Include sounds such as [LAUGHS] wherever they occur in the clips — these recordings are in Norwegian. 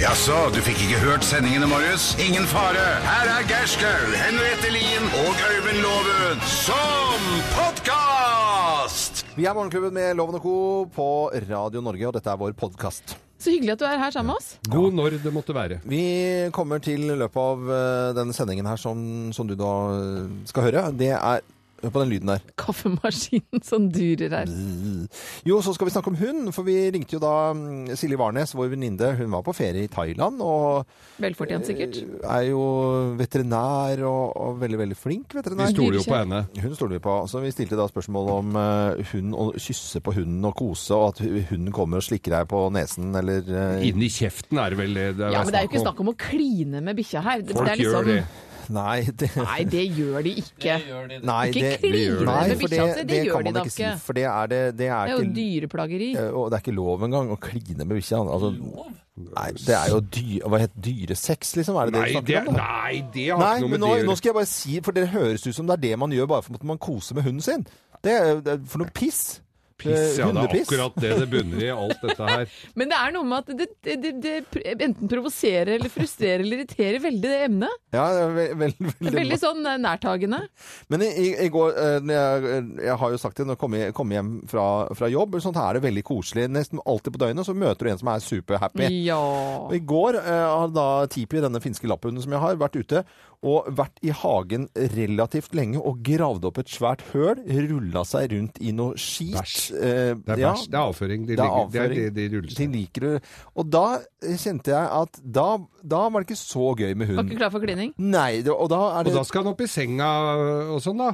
Jaså, du fikk ikke hørt sendingene, Marius? Ingen fare. Her er Gerskaug, Henriette Lien og Øyvind Loven som podkast! Vi er Morgenklubben med Loven og Co. på Radio Norge, og dette er vår podkast. Så hyggelig at du er her sammen med oss. God når det måtte være. Vi kommer til løpet av eh, denne sendingen her som, som du da eh, skal høre. Det er Hør på den lyden der. Kaffemaskinen som durer her. Jo, så skal vi snakke om hund, for vi ringte jo da mm, Silje Warnes, vår venninne. Hun var på ferie i Thailand og Velfortjent sikkert. er jo veterinær og, og veldig, veldig flink Vi veterinær. stoler jo på henne. Hun stoler vi på. Så vi stilte da spørsmål om eh, hund og kysse på hunden og kose, og at hu- hunden kommer og slikker deg på nesen eller eh, Inni kjeften er det vel det Ja, men det er jo ikke snakk om å kline med bikkja her. Det- Folk det er liksom- gjør det. Nei, det, Nei, det gjør de ikke. nei, Ikke det, kline nei, med for bikkja si, det, det det gjør kan de man da ikke si. ikke. For det er, det, det Det er er jo ikke dyreplageri. Eh, Og det er ikke lov engang å kline med bikkja. Altså, nei, det er jo dy, hva het dyresex, liksom? Er det Nei, det du det, snakker om? da? nei, det har Nei, ikke noe men med nå, det å nå gjøre. skal jeg bare si, for det høres ut som det er det man gjør bare for at man koser med hunden sin. Det er, det er for noe piss. Piss, ja, det er hundepiss. akkurat det det bunner i, alt dette her. Men det er noe med at det, det, det, det pr- enten provoserer eller frustrerer eller irriterer veldig det emnet. Ja, det er ve vel- Det veldig er veldig sånn eh, nærtagende. Men i, i, i går, eh, når jeg, jeg har jo sagt det, når jeg kommer kommer hjem fra, fra jobb, eller sånt, her er det veldig koselig. Nesten alltid på døgnet så møter du en som er superhappy. Ja. Og I går eh, har da Tipi, denne finske lapphunden som jeg har, vært ute og vært i hagen relativt lenge og gravd opp et svært høl, rulla seg rundt i noe skit. Bæsj. Eh, Det er ja, bæsj, det er avføring. det De er ligger- avføring. Det er det de ruller De seg. liker det. Og da eh, kjente jeg at da, da var det ikke så gøy med Var hund. ikke klar for klining? Nei, det, og da er Og det da skal han opp i senga og sånn, da.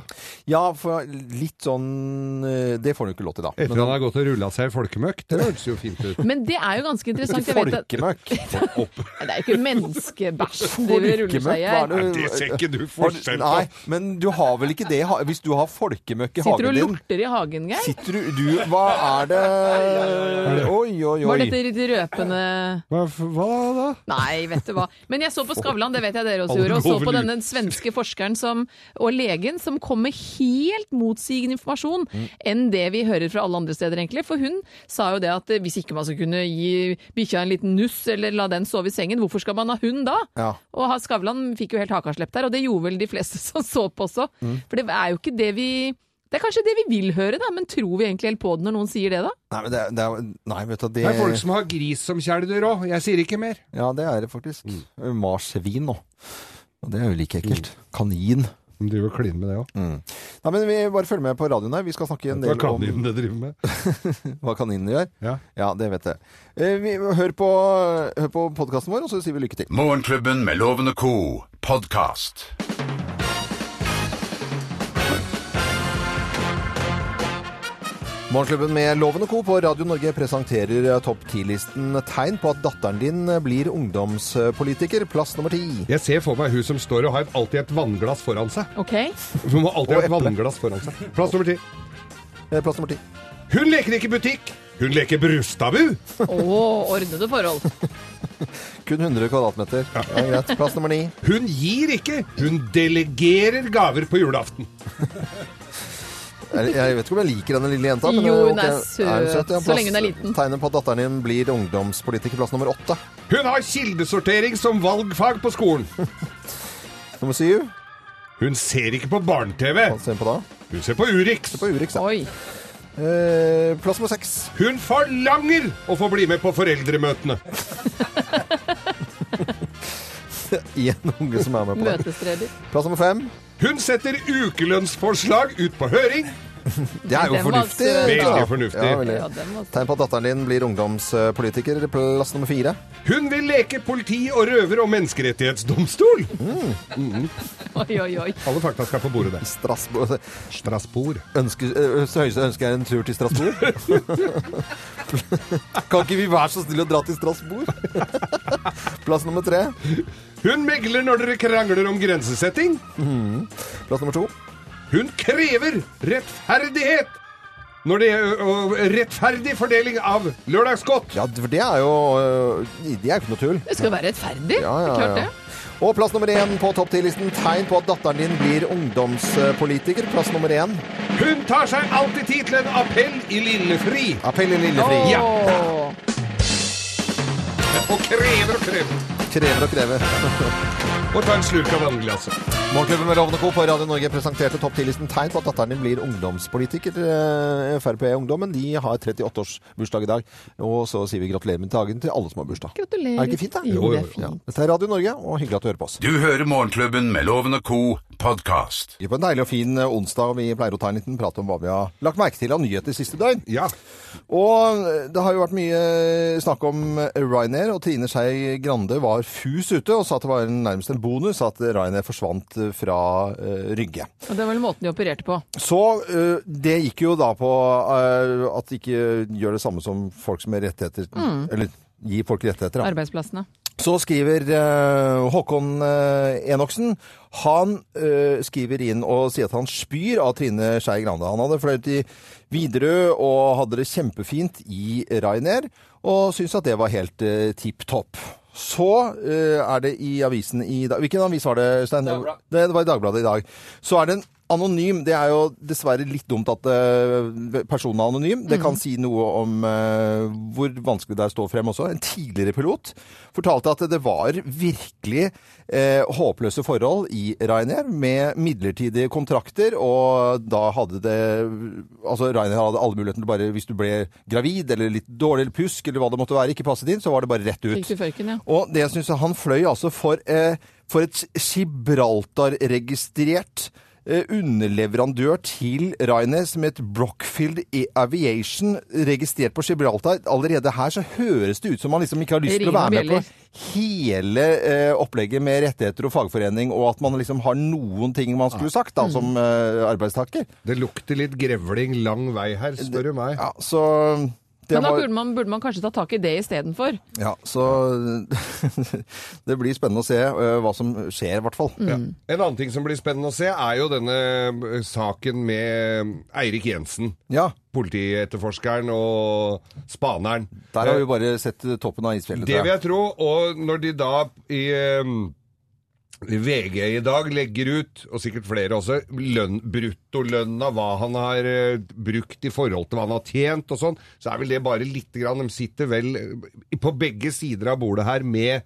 Ja, for litt sånn eh, Det får du ikke lov til, da. Etter han har gått og rulla seg i folkemøkk. Det høres jo fint [LAUGHS] ut. Men det er jo ganske interessant. Jeg vet at Folkemøkk. [LAUGHS] Nei, det er jo ikke menneskebæsj som driver og ruller seg i Hva er her. Nei, det ser ikke du forskjell på. Nei, men du har vel ikke det i ha- hvis du har folkemøkk i Sitter hagen du og din? lorter i hagen, Geir? Sitter du, du Hva er det Oi, oi, oi. Var dette de røpende Hva, hva da? Nei, vet du hva. Men jeg så på Skavlan, det vet jeg dere også Alle gjorde, og så på lover denne svenske forskeren som, og legen som kom med helt motsigende informasjon enn det vi hører fra alle andre steder, egentlig. For hun sa jo det at eh, hvis ikke man skal kunne gi bikkja en liten nuss eller la den sove i sengen, hvorfor skal man ha hund da? Ja. Og ha- Skavlan fikk jo helt hakaslepp der, og det gjorde vel de fleste [LAUGHS] som så på også. For det er jo ikke det vi Det er kanskje det vi vil høre, da, men tror vi egentlig helt på det når noen sier det, da? Nei, men det, er- det er Nei, vet du det Det er folk som har gris som kjæledyr òg. Jeg sier ikke mer. Ja, det er det faktisk. Mm. Eh, Marsvin nå. Og det er jo like ekkelt. Kanin. De driver og kliner med det Mm. òg. Nei, men vi bare følger med på radioen her. Vi skal snakke en Hva del kan om de det driver med? hva kaninene gjør. Ja. Ja, det vet jeg. Eh, Vi, hør på, hør på podkasten vår, og så sier vi lykke til. Morgenklubben med Loven og co. podkast. Morgenklubben med Loven og Co. på Radio Norge presenterer topp 10-listen tegn på at datteren din blir ungdomspolitiker. Plass nummer ti. Jeg ser for meg hun som står og har et- alltid et vannglass foran seg. OK? Hun må alltid Og ha et eple. vannglass foran seg. Plass nummer ti. Eh, Plass nummer ti. Hun leker ikke butikk. Hun leker brustabu. Å, ordnede forhold. Kun 100 kvadratmeter. Ja. greit. Plass nummer ni. Hun gir ikke. Hun delegerer gaver på julaften. Jeg, jeg vet ikke om jeg liker denne lille jenta. men Jo, eh, hun er ok. søt, ja. så Plass- lenge hun er liten. Tegnet på at datteren din blir ungdomspolitiker. Plass nummer åtte. Hun har kildesortering som valgfag på skolen. Nummer syv. Hun ser ikke på barne-TV. Hva ser vi på da? Hun ser på Urix. På Urix, ja. Oi. Eh, plass nummer seks. Hun forlanger å få bli med på foreldremøtene. Én unge som er med på det. Møtestreder. Plass nummer fem. Hun setter ukelønnsforslag ut på høring. Det er jo Den var fornuftig. søt. Veldig da. fornuftig. Ja, veldig. Ja, den var Tegn på at datteren din blir ungdomspolitiker. Plass nummer fire. Hun vil leke politi og røver og menneskerettighetsdomstol. [LAUGHS] Oi, oi, oi. Alle fakta skal på bordet der. Strasbourg Strasbourg. ønsker, ø, så høyeste ønske er en tur til Strasbourg. kan ikke vi være så snille å dra til Strasbourg? Plass nummer tre. Hun megler når dere krangler om grensesetting. Plass nummer to. Hun krever rettferdighet når det og rettferdig fordeling av lørdagsgodt. Ja, for det er jo ø, Det er jo ikke noe tull. Det skal jo være rettferdig. Ja, ja, Klart ja. det. Og plass nummer én på topp 10-listen. Tegn på at datteren din blir ungdomspolitiker. Plass nummer én. Hun tar seg alltid tid til en appell i Lillefri. Appell i Lillefri. Åh. Ja. og krever og krever. Krever og krever. Og ta en slurk av vannglasset. Morgenklubben med Lovende Co. på Radio Norge presenterte topp 10-listen tegn på at datteren din blir ungdomspolitiker. Eh, Frp-ungdommen de har 38-årsbursdag i dag. Og så sier vi gratulerer med dagen til alle som har bursdag. Gratulerer. Er det ikke fint, da? Jo, det er Ja. fint. Dette er Radio Norge, og hyggelig at du hører på oss. Du hører Morgenklubben med Loven og Co. podkast. Vi er på en deilig og fin eh, onsdag, og vi pleier å ta en liten prat om hva vi har lagt merke til av nyheter siste døgn. Ja. Og eh, det har jo vært mye eh, snakk om eh, Ryanair, og Trine Skei Grande var fus ute og sa at det var en- nærmest en bonus at eh, Ryanair forsvant eh, fra eh, Rygge. Og det var vel måten de opererte på. Så ø, det gikk jo da på ø, at de ikke gjør det samme som folk som har rettigheter. Eller gir folk rettigheter, da. Arbeidsplassene. Så skriver ø, Håkon ø, Enoksen. Han ø, skriver inn og sier at han spyr av Trine Skei Grande. Han hadde fløyet i Widerøe og hadde det kjempefint i Ryanair, og syntes at det var helt uh, tipp topp. Så ø, er det i avisen i dag Hvilken avis var det, Stein? Dagbladet. Det var i Dagbladet i dag. Så er det en anonym. Det er jo dessverre litt dumt at eh, personen er anonym. Det Mm. kan si noe om eh, hvor vanskelig det er å stå frem også. En tidligere pilot fortalte at det var virkelig eh, håpløse forhold i Ryanair med midlertidige kontrakter, og da hadde det Altså, Ryanair hadde alle muligheten til bare Hvis du ble gravid eller litt dårlig eller pusk eller hva det måtte være, ikke passet inn, så var det bare rett ut. Fikk du føyken, ja. Og det synes jeg han fløy altså for, eh, for et Gibraltar-registrert eh, underleverandør til Ryanair som het Brockfield Aviation, registrert på Gibraltar. Allerede her så høres det ut som man liksom ikke har lyst til å Ringer være med på bjeller. hele eh, opplegget med rettigheter og fagforening, og at man liksom har noen ting man skulle sagt Mm. da, som eh, arbeidstaker. Det lukter litt grevling lang vei her, spør du meg. Ja, så... det Men da var- burde man, burde man kanskje ta tak i det istedenfor. Ja, så [LAUGHS] det blir spennende å se eh, hva som skjer, i hvert fall. Mm. Ja. En annen ting som blir spennende å se, er jo denne eh, saken med Eirik Jensen. ja. Politietterforskeren og spaneren. Der har vi bare sett toppen av isfjellet. Det tror vil jeg. jeg tro. Og når de da i em, i VG i dag legger ut, og sikkert flere også, lønn, bruttolønna, hva han har eh, brukt i forhold til hva han har tjent og sånn, så er vel det bare lite grann De sitter vel eh, på begge sider av bordet her med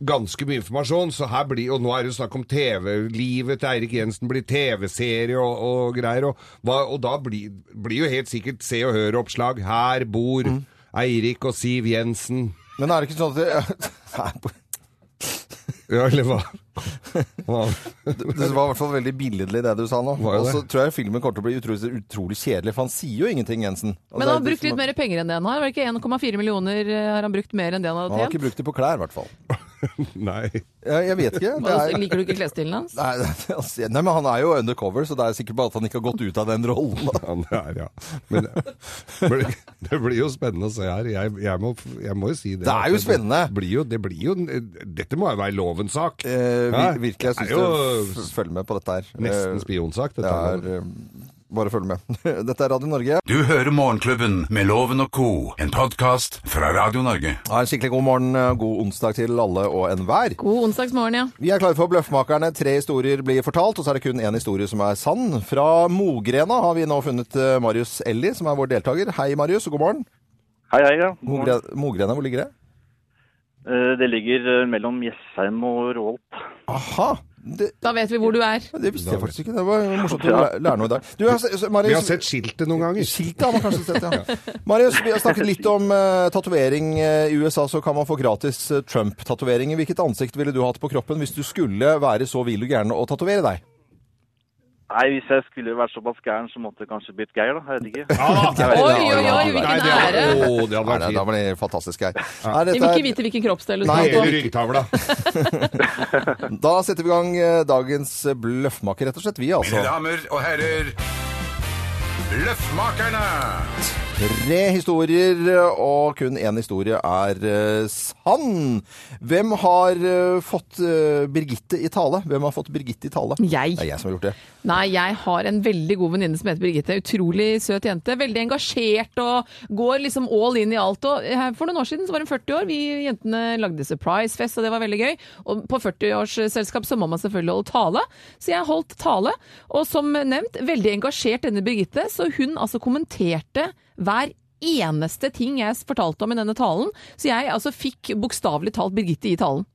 ganske mye informasjon, så her blir, og nå er det jo snakk om TV-livet til Eirik Jensen blir TV-serie og, og greier, og, hva, og da blir, blir jo helt sikkert Se og Hør-oppslag. Her bor Eirik og Siv Jensen. Men er det ikke sånn at det, [LAUGHS] Ja, eller hva? hva? [LAUGHS] det var i hvert fall veldig billedlig det du sa nå. Var jo Og så det. tror jeg filmen kommer til å bli utrolig, utrolig kjedelig, for han sier jo ingenting, Jensen. Og det er liksom- Men han har det brukt som- litt mer penger enn det han har. Var det ikke 1,4 millioner eh, har han brukt mer enn det han Han hadde har tjent? ikke brukt det på klær, i hvert fall. Nei. Jeg, jeg [LAUGHS] vet ikke. Det Og så er, Liker du ikke klesstilen hans? nei, det- altså, nei, men han er jo undercover, så det er sikkert bare at han ikke har gått ut av den rollen. da. Han er, ja. Men det, blir- det blir jo spennende å se her. Jeg, jeg, må, jeg må jo si det. Det er jo At spennende. Det blir jo, det blir jo, dette må jo være lovens sak. Eh, Hæ? vir- virkelig, jeg syns Det er jo du f- følger med på dette her. Eh, Nesten spionsak, Det dette. her. er, eh, bare følg med. [LAUGHS] Dette er Radio Norge. Du hører Morgenklubben med Loven og Co., en podkast fra Radio Norge. Ha en skikkelig god morgen, eh, god onsdag til alle og enhver. God onsdagsmorgen, ja. Vi er klare for Bløffmakerne. Tre historier blir fortalt, og så er det kun én historie som er sann. Fra Mogrena har vi nå funnet eh, Marius Elli, som er vår deltaker. Hei, Marius, og god morgen. Hei, hei, ja. Mogre Mogrena, hvor ligger det? Eh, Det ligger eh, mellom Jessheim og Rålt. Aha! Det, Da vet vi hvor du er. det visste jeg faktisk ikke. Det var morsomt å læ- lære noe i dag. Du, jeg har se- så- Marius, Vi har sett skiltet noen ganger. Skiltet har man kanskje sett, [LAUGHS] ja. Marius, vi har snakket litt om uh, tatovering. Eh, I USA så kan man få gratis eh, Trump-tatoveringer. Hvilket ansikt ville du hatt på kroppen hvis du skulle være så vill og gæren og tatovere deg? Nei, hvis jeg skulle vært såpass gæren, så måtte det kanskje blitt Geir, da. Jeg vet ikke. Oi, Oi, oi, oi, Nei, hvilken det hadde, ære! å, det hadde Nei, vært det, det fint. blir fantastisk her. Vi vil ikke vite hvilken kroppsdel du Nei, skal ha Hele på. ryggtavla. Da setter vi i gang eh, dagens bløffmaker, rett og slett. Vi, Mine altså. damer og herrer, Løffmakerne! Tre historier, eh, og kun én historie er eh, sann. Hvem har eh, fått eh, Birgitte i tale? Hvem har fått Birgitte i tale? Jeg. Det er jeg som har gjort det. Nei, jeg har en veldig god venninne som heter Birgitte. Utrolig søt jente. Veldig engasjert og går liksom all in i alt. Og her for noen år siden så var hun 40 år. Vi jentene lagde surprise-fest, og det var veldig gøy. Og på 40-årsselskap så må man selvfølgelig holde tale, så jeg holdt tale. Og som nevnt, veldig engasjert denne Birgitte, så hun altså kommenterte hver eneste ting jeg fortalte om i denne talen. Så jeg altså fikk bokstavelig talt Birgitte i talen.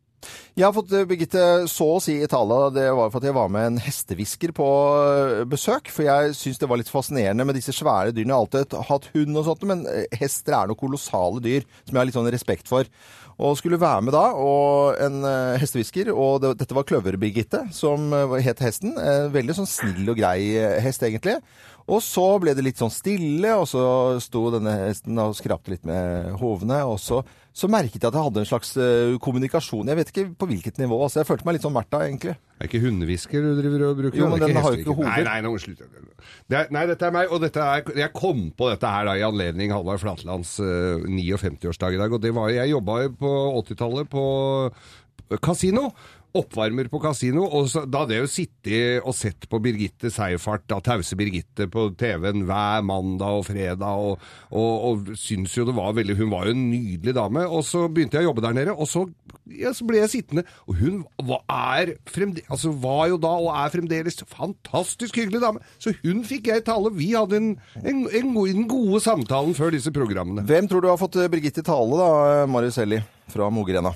Jeg har fått eh, Birgitte så å si i tale. Det var for at jeg var med en hestehvisker på eh, besøk. For jeg syns det var litt fascinerende med disse svære dyrene. Jeg har alltid hatt hund og sånt, men eh, hester er noen kolossale dyr som jeg har litt sånn respekt for. Og skulle være med da, og en eh, hestehvisker. Og det, dette var Kløver-Birgitte, som eh, het hesten. En veldig sånn snill og grei eh, hest, egentlig. Og så ble det litt sånn stille, og så sto denne hesten og skrapte litt med hovene. Og så, så merket jeg at jeg hadde en slags eh, kommunikasjon. Jeg vet ikke på hvilket nivå. altså Jeg følte meg litt sånn Märtha, egentlig. Er ikke hundehvisker du driver og bruker? Jo, men Det er den har jo hestehvisker. ikke hoder. Nei, nei, nå, slutt. Det er, nei, dette er meg, og dette er, jeg kom på dette her da, i anledning Halvard Flatlands eh, 59-årsdag i dag. Og det var, jeg jobba jo på 80-tallet på kasino. Oppvarmer på kasino, og så, da hadde jeg jo sittet og sett på Birgitte Seierfart, da tause Birgitte på TV-en hver mandag og fredag, og, og, og syns jo det var veldig Hun var jo en nydelig dame, og så begynte jeg å jobbe der nede, og så, ja, så ble jeg sittende, og hun var, er fremde, altså, var jo da og er fremdeles fantastisk hyggelig dame. Så hun fikk jeg tale. Vi hadde en, en, en, go- den gode samtalen før disse programmene. Hvem tror du har fått eh, Birgitte i tale, da, eh, Marius Elli fra Mogrena?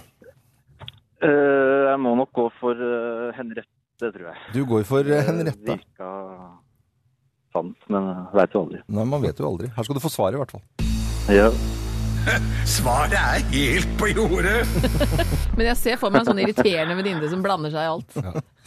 Eh, jeg må nok gå for eh, Henriette, tror jeg. Du går for eh, [LAUGHS] Henriette. Det Virka sant, men veit jo aldri. Nei, Man vet jo aldri. Her skal du få svaret, i hvert fall. Ja. Svaret er helt på jordet! Men jeg ser for meg en sånn irriterende venninne som blander seg i alt.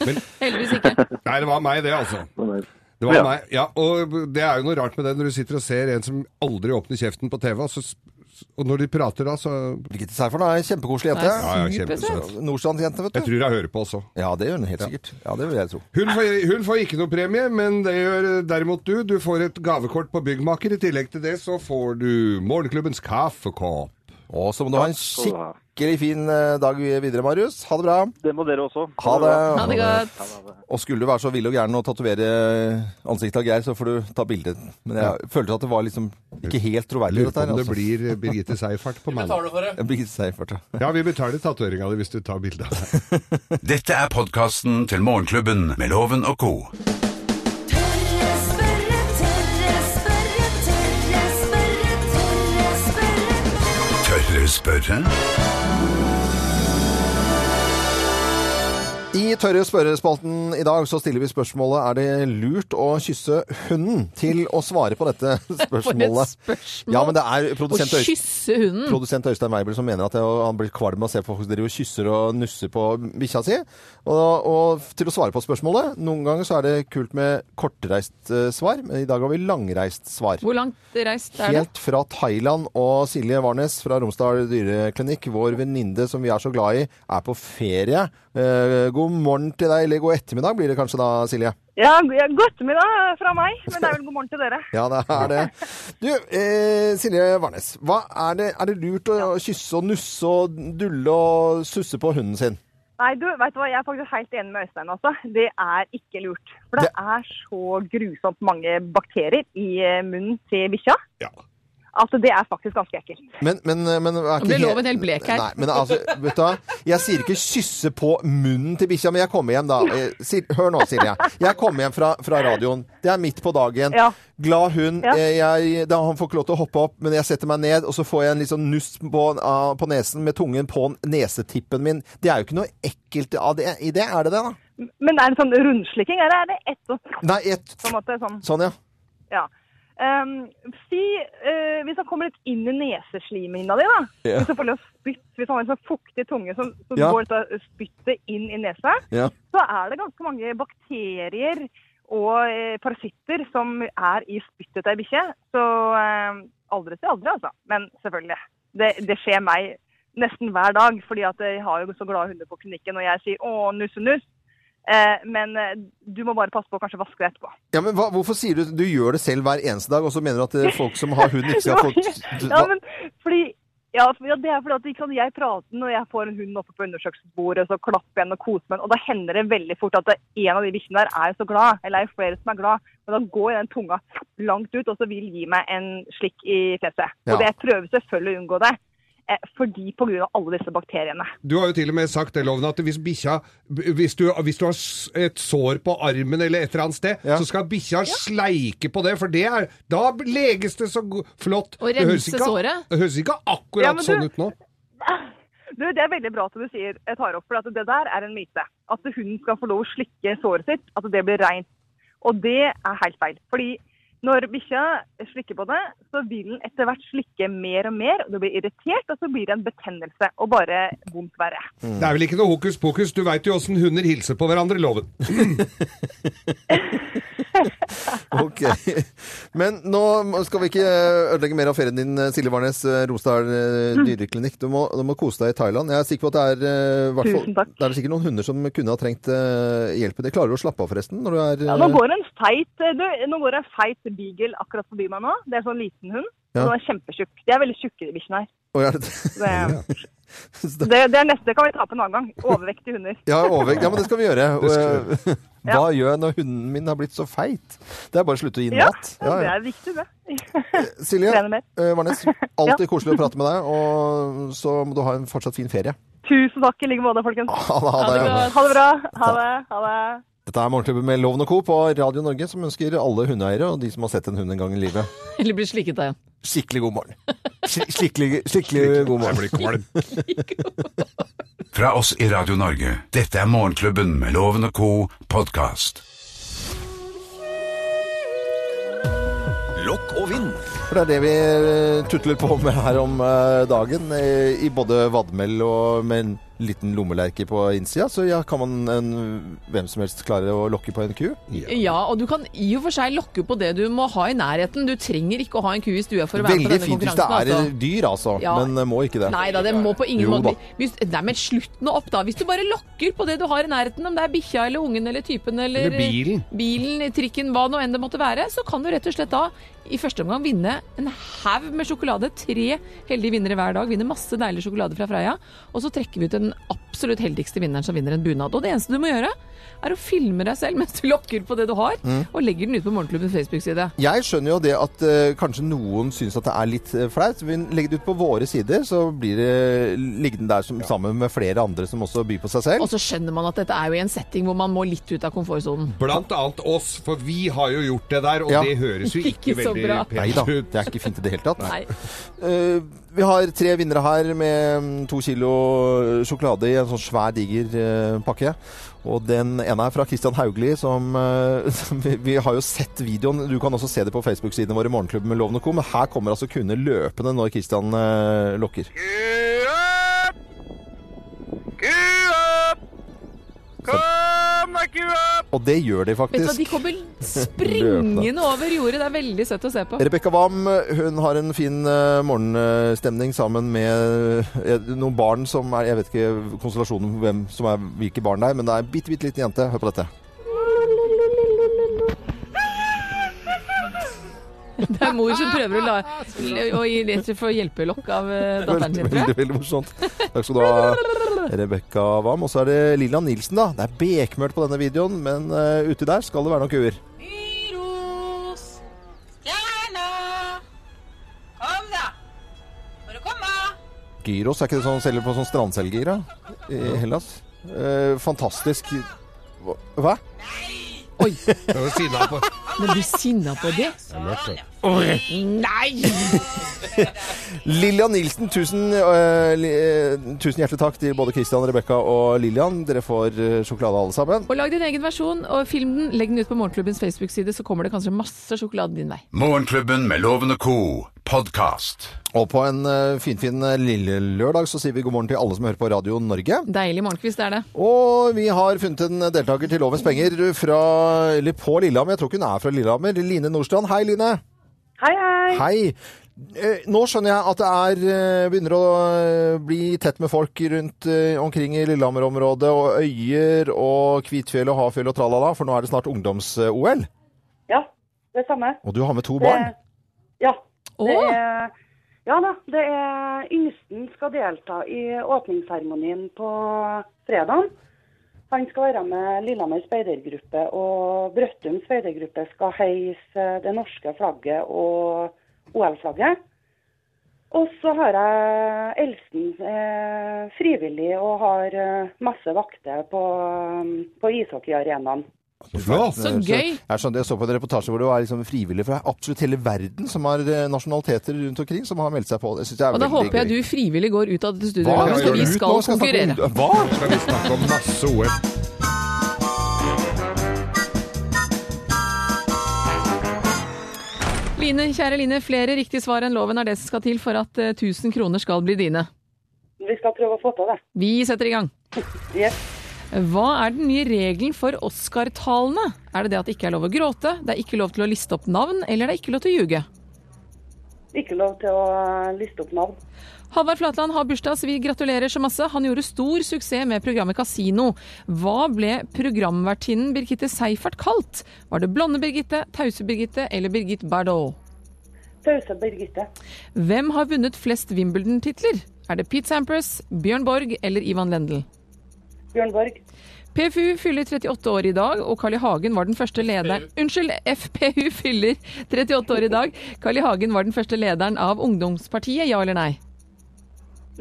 Men, [LAUGHS] Heldigvis ikke. nei, det var meg, det, altså. men det- Det var Ja. meg. Ja, og det er jo noe rart med det når du sitter og ser en som aldri åpner kjeften på TV, og, så, s- og når de prater da, så Birgitte Seifert er en kjempekoselig jente. Nei, Ja, ja, supersøt. kjempesøt. Nordstrandsjente, Jeg vet du. tror jeg hører på også. Ja, det gjør hun helt sikkert. Ja, det vil jeg tro. Hun får, hun får ikke noe premie, men det gjør derimot du. Du får et gavekort på Byggmaker. I tillegg til det så får du Morgenklubbens kaffekopp. Og så må du ha en skal du ha. skikkelig fin eh, dag videre, Marius. Ha det bra. Det må dere også. Ha det. Ha det godt. Ha det. Og skulle du være så vill og gæren og tatovere eh, ansiktet av Geir, så får du ta bilde. Men jeg følte at det var liksom ikke helt troverdig, Lurer dette på her. om det Altså. [LAUGHS] blir eh, Birgitte Seifert på meg. Jeg blir Seifert, ja. Ja, vi betaler tatoveringa di hvis du tar bilde av det. Dette er podkasten til Morgenklubben med Loven og co. Tørre spørre, tørre spørre, tørre spørre, tørre spørre. Tørre spørre? I Tørre spørrespalten i dag så stiller vi spørsmålet er det lurt å kysse hunden til å svare på [LAUGHS] dette spørsmålet. spørsmål. Ja, men det er Å produsent Øystein. kysse hunden. Produsent Øystein Weibel som mener at jeg, han blir kvalm av å se folk driver og kysser og nusser på bikkja si. Og, og til å svare på spørsmålet, noen ganger så er det kult med kortreist eh, svar, men i dag har vi langreist svar. Hvor langt reist er det? Helt fra Thailand, og Silje Warnes fra Romsdal dyreklinikk, vår venninne som vi er så glad i, er på ferie. Eh, God morgen til deg, eller god ettermiddag blir det kanskje da, Silje? Ja, g- ja, god ettermiddag eh, fra meg, men det er vel god morgen til dere. Ja, det er det. Du, eh, Silje Warnes, hva er, det, er det lurt å kysse og nusse og dulle og susse på hunden sin? Nei, du, vet du hva, jeg er faktisk helt enig med Øystein også. Det er ikke lurt. For det er så grusomt mange bakterier i eh, munnen til bikkja Ja. at det er faktisk ganske ekkelt. Men, men, eh, men er ikke ble he- loven helt blek her. Nei, men altså, vet du hva? Jeg sier ikke kysse på munnen til bikkja, men jeg kommer hjem da. Eh, Sil- Hør nå, Silje. Jeg kommer hjem fra, fra radioen. Det er midt på dagen. Ja. Glad hund. Ja. Eh, Jeg, da han får ikke lov til å hoppe opp, men jeg setter meg ned, og så får jeg en litt sånn nuss på, av- på nesen med tungen på nesetippen min. Det er jo ikke noe ekkelt av det, i det, er det det da? Men er det sånn rundslikking, eller er det ett sånn, Nei, et, på en måte, sånn, sånn ja. ja. Ehm, si, eh, hvis han kommer litt inn i neseslimhinna di, da. Ja. Hvis han får litt spytt, hvis han har en sånn fuktig tunge som, som Ja. går dette spyttet inn i nesa, ja. så er det ganske mange bakterier og eh, parasitter som er i spyttet til ei bikkje. Så eh, aldri si aldri, altså. Men selvfølgelig. Det, det skjer meg nesten hver dag, fordi at jeg har jo så glade hunder på klinikken, og jeg sier 'å, nusse-nuss'. Eh, men eh, du må bare passe på å kanskje vaske deg etterpå. Ja, men hva, hvorfor sier du du gjør det selv hver eneste dag, og så mener du at eh, folk som har hund ikke skal få ja, men fordi, ja, for- ja, det er fordi at ikke sant, jeg prater når jeg får en hund oppe på undersøkelsesbordet, så klapper jeg den og koser meg. Og da hender det veldig fort at det, en av de bikkjene der er så glad, eller er flere som er glad. Men da går den tunga langt ut, og så vil gi meg en slikk i fjeset. Ja. Og det, jeg prøver selvfølgelig å unngå det. eh, fordi på grunn av alle disse bakteriene. Du har jo til og med sagt det, Loven, at hvis bikkja hvis du, hvis du har s- et sår på armen eller et eller annet sted, Ja. så skal bikkja sleike på det, for det er Da leges det så go- flott. Og Det høres rense ikke- såret. Det høres ikke akkurat Ja, men du- sånn ut nå. Du, Det er veldig bra at du sier, jeg tar opp, for at det der er en myte. At hunden skal få lov å slikke såret sitt, at det blir rent. Og det er helt feil. Fordi når bikkja slikker på det, så vil den etter hvert slikke mer og mer, og det blir irritert, og så blir det en betennelse og bare vondt verre. Det er vel ikke noe hokus pokus. Du veit jo åssen hunder hilser på hverandre, Loven. Ok. Men nå skal vi ikke eh, ødelegge mer av ferien din, Silje Warnes, Rosdal eh, Mm. dyreklinikk. Du må, du må kose deg i Thailand. Jeg er sikker på at det er, eh, i hvert fall, Tusen takk. det er sikkert noen hunder som kunne ha trengt eh, hjelp. Det klarer du å slappe av, forresten? Når du er, Ja, nå eh, går en feit, du, nå går en feit beagle akkurat forbi meg nå. Det er en sånn liten hund. Ja. Den er kjempetjukk. De er veldig tjukke, de bikkjene her. og er eh, det, Det, det, det er neste, det kan vi ta på en annen gang. Overvektige hunder. ja, overvekt. ja, men det skal vi gjøre. Det skal Og, eh, [LAUGHS] Hva gjør jeg når hunden min har blitt så feit? Det er bare å slutte å gi den Ja, mat. Ja, det ja. er viktig, det. Silje Trene mer. eh, [LAUGHS] Warnes, alltid koselig å prate med deg, og så må du ha en fortsatt fin ferie. Tusen takk i like måte, folkens. Ha det, ha Ha det det. bra. Ha det bra. Ha det. Ha det. Dette er Morgenklubben med Loven og Co. på Radio Norge, som ønsker alle hundeeiere og de som har sett en hund en gang i livet, Eller blir slikket av en. skikkelig god [LAUGHS] morgen. Sk- Skikkelig, skikkelig god morgen. Jeg blir kvalm. Fra oss i Radio Norge. Dette er Morgenklubben med Loven og co. podkast. Lokk og vind. For det er det vi eh, tutler på med her om eh, dagen, eh, i både vadmel og med en liten lommelerke på innsida, så ja, kan man en, hvem som helst klare å lokke på en ku. Ja, og du kan i og for seg lokke på det du må ha i nærheten. Du trenger ikke å ha en ku i stua for å være med på Veldig denne fint hvis det konkurransen. er altså. dyr, altså, Ja. men eh, må ikke det. Nei da, det må på ingen Jo da. måte hvis, Nei, men slutt nå opp, da. Hvis du bare lokker på det du har i nærheten, om det er bikkja eller ungen eller typen eller, Eller bilen. bilen, trikken, hva nå enn det måtte være, så kan du rett og slett da i første omgang vinne en haug med sjokolade. Tre heldige vinnere hver dag. Vinner masse deilig sjokolade fra Freia. Og så trekker vi ut den absolutt heldigste vinneren som vinner en bunad. Og det eneste du må gjøre, er å filme deg selv mens du lokker på det du har, og legger den ut på Morgenklubbens Facebook-side. Jeg skjønner jo det at eh, kanskje noen syns at det er litt eh, flaut. så Vi legger det ut på våre sider, så blir det liggende der som, sammen med flere andre som også byr på seg selv. Og så skjønner man at dette er jo i en setting hvor man må litt ut av komfortsonen. Blant annet oss, for vi har jo gjort det der, og Ja. det høres jo ikke, Ikke så veldig bra. Nei da, pent ut. det er ikke fint i det hele tatt. Nei. Eh, vi har tre vinnere her med mm, to kilo sjokolade i en sånn svær, diger eh, pakke. Og den ene er fra Christian Hauglie, som, eh, [LAUGHS] som vi, vi har jo sett videoen. Du kan også se det på Facebook-sidene våre, Morgenklubben med Loven og Co. Men her kommer altså kunder løpende når Christian eh, lokker. Og det gjør de Vet du hva, faktisk. de [LAUGHS] kommer springende over jordet. Det er veldig søtt å se på. Rebekka Wam hun har en fin eh, morgenstemning sammen med eh, noen barn som er Jeg vet ikke konstellasjonen hvem som er hvilke barn det er, men det er en bitte, bitte liten jente. Hør på dette. Det er mor [LAUGHS] som prøver å, la, å gi rett for å hjelpe lokk av eh, Veldig, datteren sin, tror veldig, jeg. veldig morsomt. Takk skal du ha, Rebekka Wam. Og så er det Lilla Nilsen, da. Det er bekmørkt på denne videoen, men eh, uti der skal det være noen kuer. Myros! Stjerna! Kom, da! Må du komme? Gyros, er ikke det sånn selger på sånn strandselger da? i Hellas? Eh, fantastisk. Hva- Hva? Jeg var sinna på- Men blir sinna på det? Nei! Lillian Nilsen, tusen, eh, li, eh, tusen hjertelig takk til både Christian, Rebekka og Lillian. Dere får eh, sjokolade alle sammen. Og lag din egen versjon, og film den. Legg den ut på Morgenklubbens Facebook-side, så kommer det kanskje masse sjokolade din vei. Morgenklubben med Loven og co. podkast. Og på en eh, finfin eh, lille lørdag så sier vi god morgen til alle som hører på Radio Norge. Deilig morgenkvist er det. Og vi har funnet en deltaker til Lovens penger fra, eller på Lillehammer. Jeg tror ikke hun er fra Lillehammer. Line Nordstrand. Hei, Line. Hei, hei. Hei. Eh, Nå skjønner jeg at det er, eh, begynner å eh, bli tett med folk rundt eh, omkring i Lillehammer-området, og Øyer og Kvitfjell og Hafjell og tralala, for nå er det snart eh, ungdoms-OL. Ja, det samme. Og du har med to barn. Ja. Å, Det er, ja da, det er yngsten skal delta i åpningsseremonien på fredag. Han skal være med Lillehammer speidergruppe, og Brøttum speidergruppe skal heise det norske flagget og OL-flagget. Og så har jeg Elsen eh, frivillig og har eh, masse vakter på, eh, på ishockeyarenaen. Flott! Så gøy. Jeg, skjønner, jeg så på en reportasje hvor det var liksom frivillige fra absolutt hele verden som har eh, nasjonaliteter rundt omkring, som har meldt seg på. Det synes jeg er Og da veldig håper jeg gøy. du frivillig går ut av dette Hva? studioet, gjør for vi du? skal Nå jeg snakke om- konkurrere. Hva? Nå skal vi snakke om masse OL. Line, kjære Line, flere riktige svar enn loven er det som skal til for at eh, 1000 kroner skal bli dine. Vi skal prøve å få til det. Vi setter i gang. [LAUGHS] Yes. Hva er den nye regelen for Oscar-talene? Er det det at det ikke er lov å gråte, det er ikke lov til å liste opp navn, eller det er ikke lov til å ljuge? Ikke lov til å eh, liste opp navn. Halvard Flatland har bursdag, så vi gratulerer så masse. Han gjorde stor suksess med programmet Casino. Hva ble programvertinnen Birgitte Seifert kalt? Var det Blonde Birgitte, Tause Birgitte eller Birgitte Bardot? Pause, Birgitte. Hvem har vunnet flest Wimbledon-titler? Er det Pete Sampras, Bjørn Borg eller Ivan Lendl? Bjørn Borg. PFU fyller 38 år i dag, og Carl I. Hagen var den første lederen Unnskyld, FPU fyller 38 år i dag. Carl I. Hagen var den første lederen av ungdomspartiet, ja eller nei?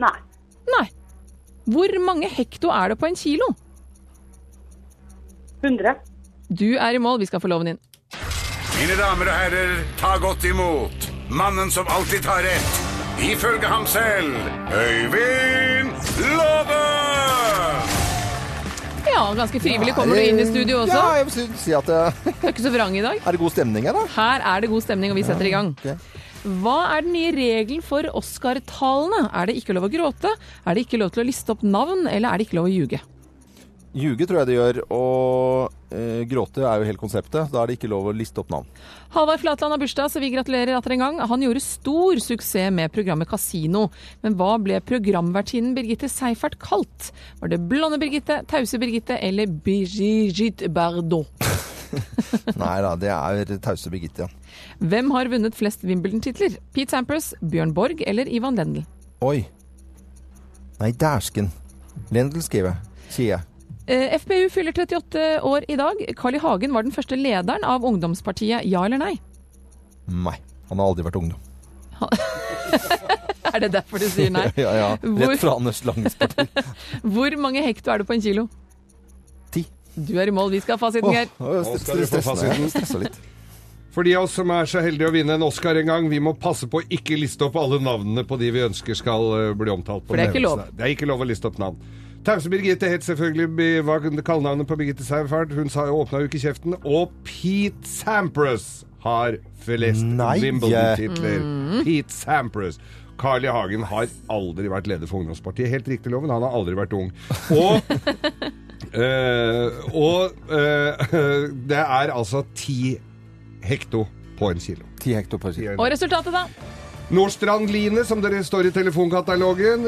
Nei. Nei. Hvor mange hekto er det på en kilo? 100. Du er i mål, vi skal få loven inn. Mine damer og herrer, ta godt imot mannen som alltid tar rett. Ifølge ham selv Øyvind Låve! Ja, ganske frivillig kommer du inn i Ja, studio også. jeg vil si- si at det Du er ikke så vrang i dag. er det god stemning her, da. Her er det god stemning, og vi setter i gang. Ok. Hva er den nye regelen for Oscar-talene? Er det ikke lov å gråte? Er det ikke lov til å liste opp navn, eller er det ikke lov å ljuge? Ljuge tror jeg det gjør, og eh, gråte er jo hele konseptet. Da er det ikke lov å liste opp navn. Halvard Flatland har bursdag, så vi gratulerer atter en gang. Han gjorde stor suksess med programmet Casino. Men hva ble programvertinnen Birgitte Seifert kalt? Var det Blonde Birgitte, Tause Birgitte eller Brigitte Bardot? [LAUGHS] Nei da, det er tause Birgitte. ja. Hvem har vunnet flest Wimbledon-titler? Pete Sampras, Bjørn Borg eller Ivan Lendl? Oi. Nei, dæsken. Lendel skriver jeg. Sier jeg. Eh, FPU fyller 38 år i dag. Carl I. Hagen var den første lederen av ungdomspartiet Ja eller nei? [LAUGHS] Nei. Han har aldri vært ungdom. [LAUGHS] Er det derfor du sier nei? [LAUGHS] Ja, ja. Hvor- Rett fra Anders Langes parti. Hvor mange hekto er det på en kilo? Ti. Du er i mål, vi skal ha fasiten, Geir. Nå skal du få fasiten. Stressa litt. For de av oss som er så heldige å vinne en Oscar en gang, vi må passe på å ikke liste opp alle navnene på de vi ønsker skal eh, bli omtalt. På For det er ikke nevnelsen. lov. Det er ikke lov å liste opp navn. Tause Birgitte het selvfølgelig Bi- hva kallenavnet på Birgitte Seifert. Hun åpna jo ikke kjeften. Og Pete Sampras har flest Nei. Wimbledon-titler. eh, Mm. Pete Sampras. Carl I. Hagen har aldri vært leder for ungdomspartiet. Helt riktig, Loven. Han har aldri vært ung. [LAUGHS] Og Eh, og eh, [LAUGHS] det er altså 10 hekto på en kilo. Ti hekto på siden. Og resultatet, da? Nordstrand Line, som dere står i telefonkatalogen,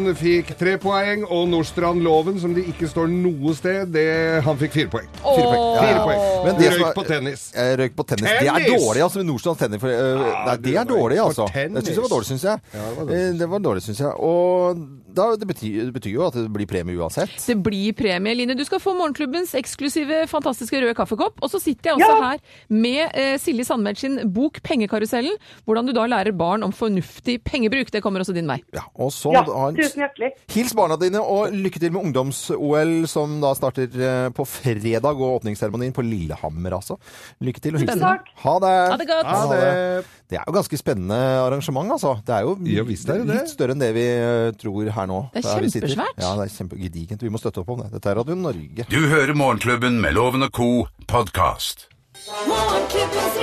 hun fikk tre poeng. Og Nordstrand Loven, som det ikke står noe sted, det, han fikk fire poeng. Fire poeng. Åh. Fire poeng. Men det som Røyk er- på tennis. Jeg røyk på tennis. Det er Tennis! dårlig, altså. med Nordstrands tennis. For, eh, nei, det er du røyk dårlig, på altså. Jeg tennis. syns det var dårlig, syns jeg. det var Eh, Det var dårlig, syns jeg. Og da, det, betyr, det betyr jo at det blir premie uansett. Det blir premie, Line. Du skal få morgenklubbens eksklusive fantastiske røde kaffekopp. Og så sitter jeg også Ja! her med eh, Silje Sandmeld sin bok 'Pengekarusellen'. Hvordan du da lærer barn om fornuftig pengebruk. Det kommer også din vei. Ja, og så Ja, må du ha en- tusen hjertelig. Hils barna dine, og lykke til med ungdoms-OL, som da starter eh, på fredag, og åpningsseremonien på Lillehammer, altså. Lykke til, og hils Tusen takk. Ha det! Ha det godt. Ha det. Det er jo ganske spennende arrangement, altså. Det er jo Ja, visst er det det. litt større enn det vi eh, tror her nå. Det er der vi sitter. kjempesvært. Ja, det er kjempegedigent. Vi må støtte opp om det. Dette er Radio Norge. Du hører Morgenklubben med Loven og co. podkast. Morgenklubbens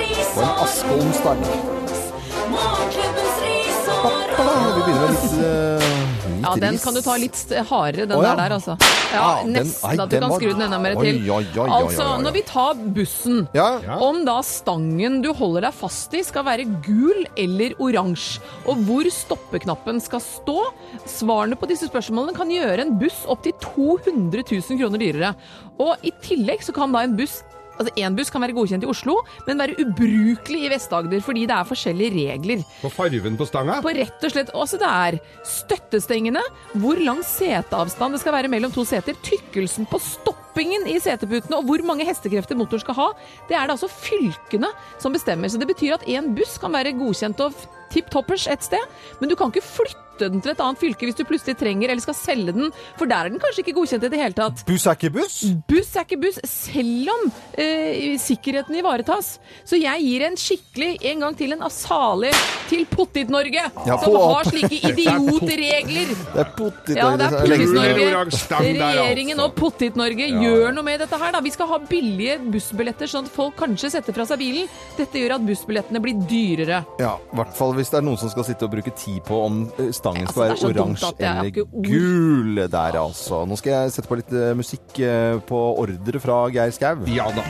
Og en risår. askeonsdag. Morgenklubbens risår. Vi begynner med litt, eh, litt Ja, den ris. kan du ta litt st- hardere, den Å, ja. der der, altså. Ja, Ja, den- nesten nei, at du den kan var- skru den enda mer Oi, til. oi, oi, oi, Altså, oi, oi. når vi tar bussen Ja. Om da stangen du holder deg fast i skal være gul eller oransje, og hvor stoppeknappen skal stå, svarene på disse spørsmålene kan gjøre en buss opptil 200 000 kroner dyrere. Og i tillegg så kan da en buss Altså, Én buss kan være godkjent i Oslo, men være ubrukelig i Vest-Agder fordi det er forskjellige regler På farven på stanga. på rett og slett altså det er støttestengene, hvor lang seteavstand det skal være mellom to seter, tykkelsen på stoppingen i seteputene og hvor mange hestekrefter motor skal ha, det er det altså fylkene som bestemmer. Så det betyr at en buss kan være godkjent og f- tipp toppers et sted, men du kan ikke flytte den til et annet fylke hvis du plutselig trenger eller skal selge den, for der er den kanskje ikke godkjent i det hele tatt. Buss er ikke buss. Buss er ikke buss, selv om eh, sikkerheten ivaretas. Så jeg gir en skikkelig en gang til en asale til Pottit-Norge, Ja, som på har opp. slike [LAUGHS] idiotregler. Det er potet. Ja, det er Gul eller Pottit-Norge. oransje stang der, altså. Regjeringen og Pottit-Norge gjør noe med dette her, da. Vi skal ha billige bussbilletter, sånn at folk kanskje setter fra seg bilen. Dette gjør at bussbillettene blir dyrere. Ja, i hvert fall hvis det er noen som skal sitte og bruke tid på om eh, stangen Altså, skal det er være så dumt oransje at jeg har eller ikke ord. gul der, altså. Nå skal jeg sette på litt eh, musikk eh, på ordre fra Geir Skau. Ja da.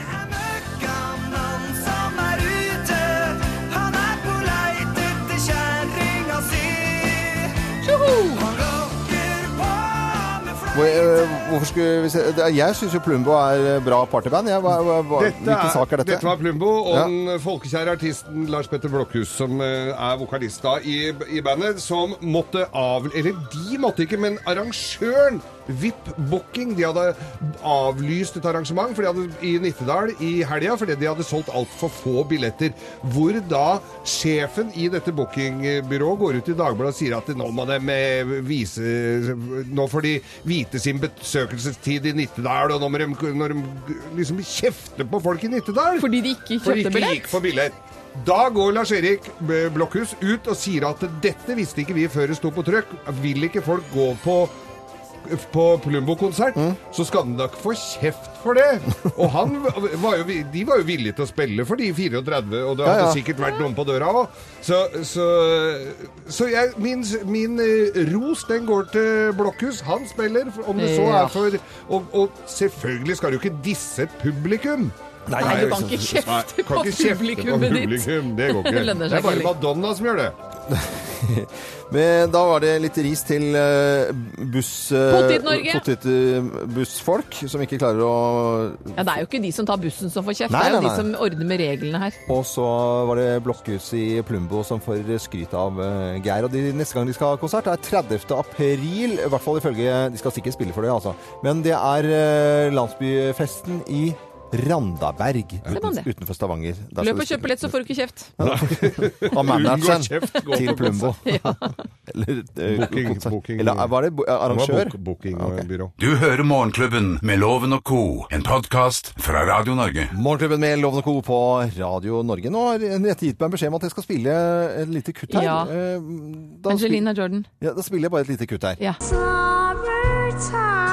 Hvor, eh, Hvorfor skulle vi se det er- Jeg syns jo Plumbo er eh, bra partyband. Jeg, hva, hva, hva, hvilken er- sak er dette? Dette var Plumbo og Ja. den folkekjære artisten Lars Petter Blokhus, som eh, er vokalist da i, i bandet, som måtte av... Eller de måtte ikke, men arrangøren, VIP Booking, de hadde avlyst et arrangement for de hadde, i Nittedal i helga fordi de hadde solgt altfor få billetter. Hvor da sjefen i dette bookingbyrået går ut i Dagbladet og sier at nå må de eh, vise Nå får de vite sin besøkelsestid i Nittedal, og nå må de, når de liksom kjefte på folk i Nittedal Fordi de ikke fordi kjøpte ikke billett. gikk for billett. Da går Lars-Erik eh, Blokhus ut og sier at dette visste ikke vi før det sto på trøkk. Vil ikke folk gå på på Plumbo-konsert, Mm. så skal den da ikke få kjeft for det. Og han v- var jo, vi- de var jo villige til å spille for de 34, og det hadde Ja, ja. sikkert vært noen på døra òg. Så, så, så jeg, min, min eh, ros, den går til Blokhus. Han spiller, om det så Ja. er for Og, og selvfølgelig skal du ikke disse et publikum. Nei, du kan ikke kjefte på Kan ikke kjefte på publikummet ditt. publikum, Det går Det ikke. lønner Det seg er bare ikke. Madonna som gjør det. Men da var det litt ris til eh, buss... eh, Potet-Norge. potet, eh, bussfolk som ikke klarer å Ja, det er jo ikke de som tar bussen som får kjeft, Nei, det er jo nei, de nei. som ordner med reglene her. Og så var det Blokhus i Plumbo som får skryt av eh, Geir. Og de, neste gang de skal ha konsert, er 30. april. I hvert fall ifølge De skal sikkert spille for det, altså. Men det er eh, landsbyfesten i Randaberg man det. uten, utenfor Stavanger. Der skal Løp de og spille. kjøp billett, så får du ikke kjeft. Av manageren kjeft, gå til på Plumbo. [LAUGHS] Eller, eh, Booking- konsert. booking- Eller var det bo- eh, arrangør? Bookingbyrå. Du hører Morgenklubben med Loven og Co. En podkast fra Radio Norge. Morgenklubben med Loven og Co. på Radio Norge. Nå har Henriette gitt meg beskjed om at jeg skal spille eh, et lite kutt her. Ja. Eh, Da, spil- Angelina Jordan. ja, da spiller jeg bare et lite kutt her. Ja. Summertime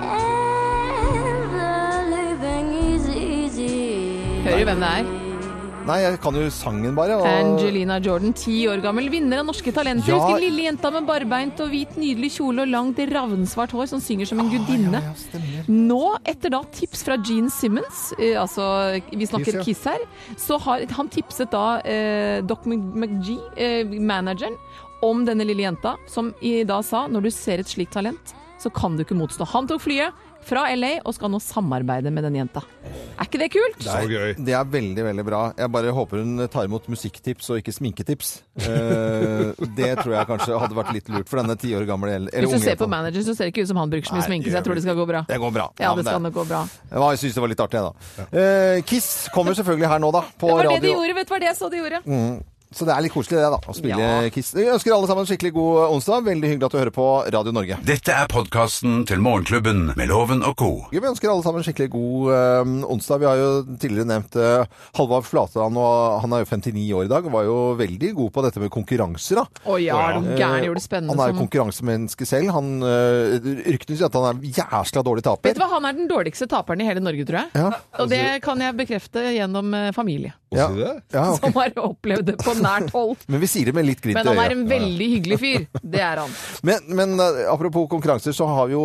and the living is easy. Hører jo hvem det er. Nei, jeg kan jo sangen bare. og- Angelina Jordan, ti år gammel, vinner av Norske Talenter. Ja. Husker lille jenta med barbeint og hvit, nydelig kjole og langt ravnsvart hår som synger som en gudinne. Ah, Ja, stemmer. Nå, etter da tips fra Gene Simmons, eh, altså vi snakker Kiss, her, så har han tipset da eh, Doc Mc- McGee, eh, manageren, om denne lille jenta, som i da sa når du ser et slikt talent, så kan du ikke motstå. Han tok flyet fra LA og skal nå samarbeide med den jenta. Er ikke det kult? Så gøy. Det er veldig, veldig bra. Jeg bare håper hun tar imot musikktips og ikke sminketips. Eh, det tror jeg kanskje hadde vært litt lurt for denne ti år gamle eller Hvis unge du ser på jenta. manageren, så ser det ikke ut som han bruker så mye Nei, sminke, så jeg tror det skal gå bra. Det går bra. Ja, men det skal nok gå bra. Ja, jeg syns det var litt artig, jeg, da. Eh, Kiss kommer selvfølgelig her nå, da. På Det var det radio. de gjorde, vet du hva det jeg så de gjorde? Mm. Så det er litt koselig det, da. Å spille Ja. Kiss. Jeg ønsker alle sammen en skikkelig god eh, onsdag. Veldig hyggelig at du hører på Radio Norge. Dette er podkasten til Morgenklubben med Loven og co. Vi ønsker alle sammen en skikkelig god eh, onsdag. Vi har jo tidligere nevnt eh, Halvard Flatland, og han er jo 59 år i dag. og Var jo veldig god på dette med konkurranser, da. Eh, Å ja, er du gæren gjorde det Han spennende sånn. er jo som konkurransemenneske selv. Han eh, Ryktene sier at han er jæsla dårlig Vet taper. du hva, han er den dårligste taperen i hele Norge, tror jeg. Ja. Og det kan jeg bekrefte gjennom eh, familie, Ja. Sier du det? Ja, ok. [LAUGHS] som har opplevd det på nært hold. Men vi sier det med litt glimt Men i han er øyet. en veldig hyggelig fyr. Det er han. Men, men eh, apropos konkurranser, så har vi jo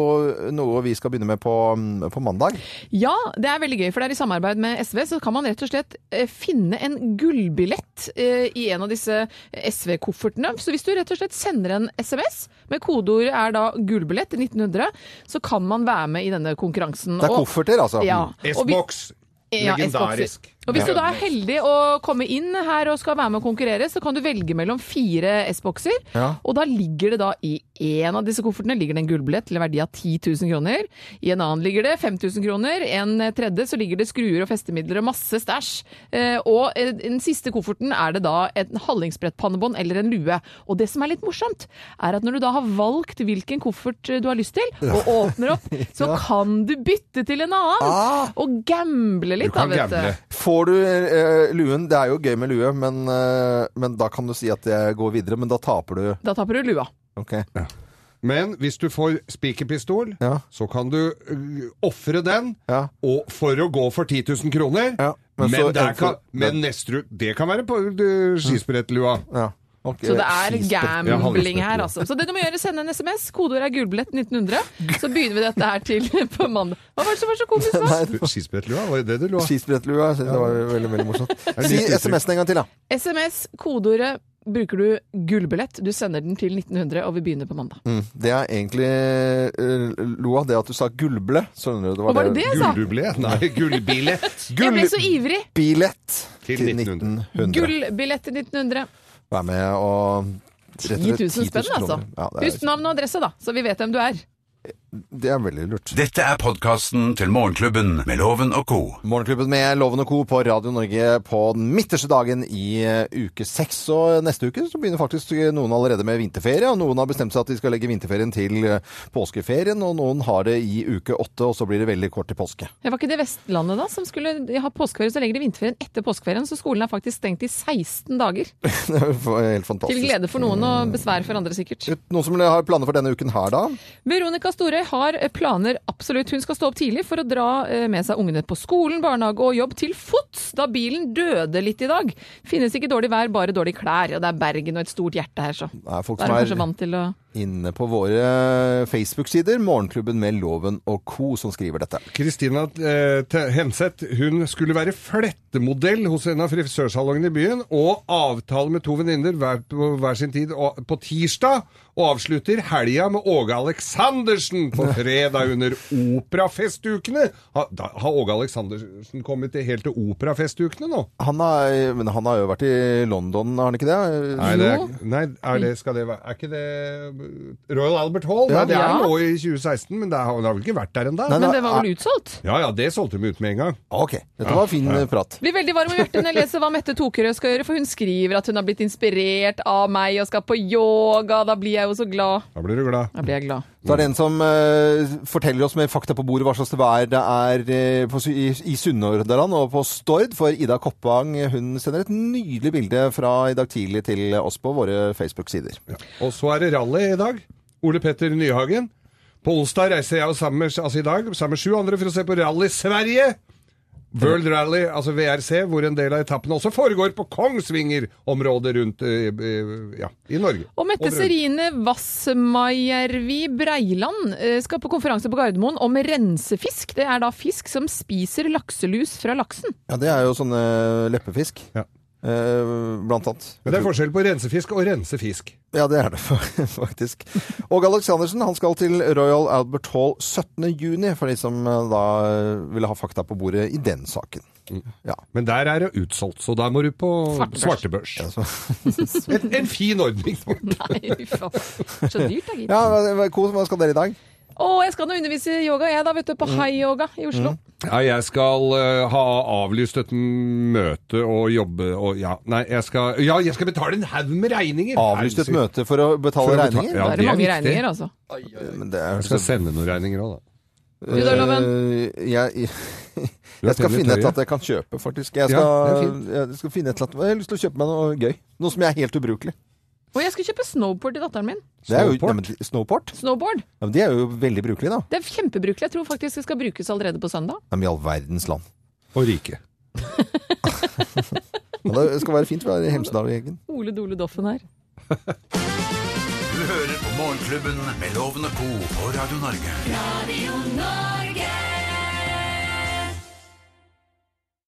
noe vi skal begynne med på, mm, på mandag. Ja, det er veldig gøy, for det er i samarbeid med SV, så kan man rett og slett eh, finne en gullbillett eh, i en av disse SV-koffertene. Så hvis du rett og slett sender en SMS, med kodeord er da gullbillett 1900, så kan man være med i denne konkurransen. Det er Og- kofferter, altså. Ja. og vi- S-box. Ja, Legendarisk. Og Hvis du da er heldig å komme inn her og skal være med å konkurrere, så kan du velge mellom fire S-bokser. Ja. Og da ligger det da i en av disse koffertene ligger det en gullbillett til en verdi av 10 000 kroner. I en annen ligger det 5000 kroner. I en tredje så ligger det skruer og festemidler og masse stæsj. Eh, Og eh, den siste kofferten er det da en hallingsbrettpannebånd eller en lue. Og det som er litt morsomt, er at når du da har valgt hvilken koffert eh, du har lyst til, og åpner opp, så kan du bytte til en annen. Ah. Og gamble litt, Du kan da, vet gamble. du. Får du eh, luen Det er jo gøy med lue, men, eh, men da kan du si at jeg går videre, men da taper du. Da taper du lua. Ok. Men hvis du får spikerpistol, Ja. så kan du øh, ofre den Ja. og for å gå for 10 000 kroner. Ja, men men så- der kan, men neste, ru- det kan være på øh, skispretlua. Ja. Ok. Så det er Skispe- Ja, gambling handelsbøtter, her, ja. altså. Så det du må gjøre, sende en SMS. Kodeord er gullbillett 1900. Så begynner vi dette her til [LAUGHS] på mandag. Hva var det som var så komisk [LAUGHS] nå? [LAUGHS] Nei, det var- Skispretlua, var det det du lå? Skisprettluer. Jeg synes det var veldig veldig morsomt. litt Si uttrykk. SMS-en en gang til, da. SMS, kodeordet bruker du gullbillett. Du sender den til 1900, og vi begynner på mandag. Mm, Det er egentlig eh, Loa, det at du sa gullble. Skjønner du? Det var, Og var det det jeg sa? Gulldublé? Nei, gullbillett. Jeg ble så ivrig! Billett Til til 1900. Gullbillett til 1900. Vær med og 10 000 spenn, altså. Ja, det, Husk er, navn og adresse, da, så vi vet hvem du er. det er veldig lurt. Dette er podkasten til Morgenklubben med Loven og co. Morgenklubben med Loven og Co. på Radio Norge på den midterste dagen i eh, uke seks. Og neste uke så begynner faktisk eh, noen allerede med vinterferie, og noen har bestemt seg at de skal legge vinterferien til eh, påskeferien, og noen har det i uke åtte, og så blir det veldig kort til påske. [LAUGHS] Det var ikke det Vestlandet da som skulle ha påskeferie, så legger de vinterferien etter påskeferien, så skolen er faktisk stengt i 16 dager. Det er jo helt Til fantastisk. glede for noen og besvær for andre, sikkert. Noen som har planer for denne uken her, da? Veronica Storøy har planer, absolutt. Hun skal stå opp tidlig for å dra eh, med seg ungene på skolen, barnehage og jobb til fots, da bilen døde litt i dag. Finnes ikke dårlig vær, bare dårlige klær. Og det er Bergen og et stort hjerte her, så. Det er folk Da er som hun er kanskje vant til å inne på våre eh, Facebook-sider, Morgenklubben med Loven og Co., som skriver dette. Kristina eh, Te- Henseth hun skulle være flettemodell hos en av frisørsalongene i byen, og avtale med to venninner hver på hver sin tid og- på tirsdag, og avslutter helga med Åge Aleksandersen på fredag under operafestukene. Har, da, har Åge Aleksandersen kommet til, helt til operafestukene nå? Han har, men han har jo vært i London, har han ikke det? Nei, det er, Jo. nei er, det, skal det være, er ikke det Royal Albert Hall? Ja. Nei, det er Ja. nå i 2016, men det har, det har vel ikke vært der ennå? Nei, Men da- det var vel utsolgt? Ja ja, det solgte de ut med en gang. Ok, dette var fin eh, prat. Blir veldig varm om hjertet når jeg leser hva Mette Tokerød skal gjøre, for hun skriver at hun har blitt inspirert av meg og skal på yoga. Da blir jeg jo så glad. Da blir du glad. Da blir jeg glad. Så er det en som eh, forteller oss mer fakta på bordet hva slags vær det er eh, på, Sy- i, i Sunnhordland og på Stord. For Ida Koppang hun sender et nydelig bilde fra i dag tidlig til oss på våre Facebook-sider. Og så er det rally i dag. Ole Petter Nyhagen. På onsdag reiser jeg og sammen med, altså i dag, sammen med sju andre for å se på Rally Sverige. World Rally, altså VRC, hvor en del av etappen også foregår på Kongsvinger-området rundt eh, eh, ja, i Norge. Og Mette Over- Serine Vassmajärvi Breiland eh, skal på konferanse på Gardermoen om rensefisk. Det er da fisk som spiser lakselus fra laksen. [LAUGHS] Ja, det er jo sånne leppefisk. Ja. eh, Blant annet. Men det er forskjell på rensefisk og rensefisk. Ja, det er det fa- [LAUGHS] faktisk. Og Aleksandersen han skal til Royal Albert Hall 17. juni, for de som eh, da ville ha fakta på bordet i den saken. Ja. Men der er det utsolgt, så der må du på Svartebørs. svartebørs. en, en fin ordning. Nei, fy faen. Så dyrt, da, gitt. ja, hva- Ko, hva skal dere i dag? Å, jeg skal nå undervise i yoga, jeg da, vet du. På High Yoga i Oslo. Ja, jeg skal eh, ha avlyst et møte og jobbe og ja. Nei, jeg skal, ja, jeg skal betale en haug med regninger. Avlyst et Helsike. møte for å betale For å betale- regninger? Ja, Da er det det er mange viktig. regninger, altså. Eh, Men det er Jeg skal sende noen regninger òg, da. Du da, [LAUGHS] Loven? Eh, jeg, Du er jeg skal pen i finne et eller tøyet. annet jeg kan kjøpe, faktisk. Jeg Ja, det er skal, fint. jeg skal finne et eller annet Jeg har lyst til å kjøpe meg noe gøy. Noe som er helt ubrukelig. Og jeg skal kjøpe snowboard til datteren min. Det er jo, Snowport? ja, men, snowport? Snowboard. Ja, men det er jo veldig brukelig, da. Det er kjempebrukelig. Jeg tror faktisk det skal brukes allerede på søndag. Ja, men i all verdens land. Og rike. Ja, det skal være fint. Vi er i Hemsedal og Eggen. Ole Dole Doffen her. Du hører på Morgenklubben med Loven og co. på Radio Norge. Radio Norge.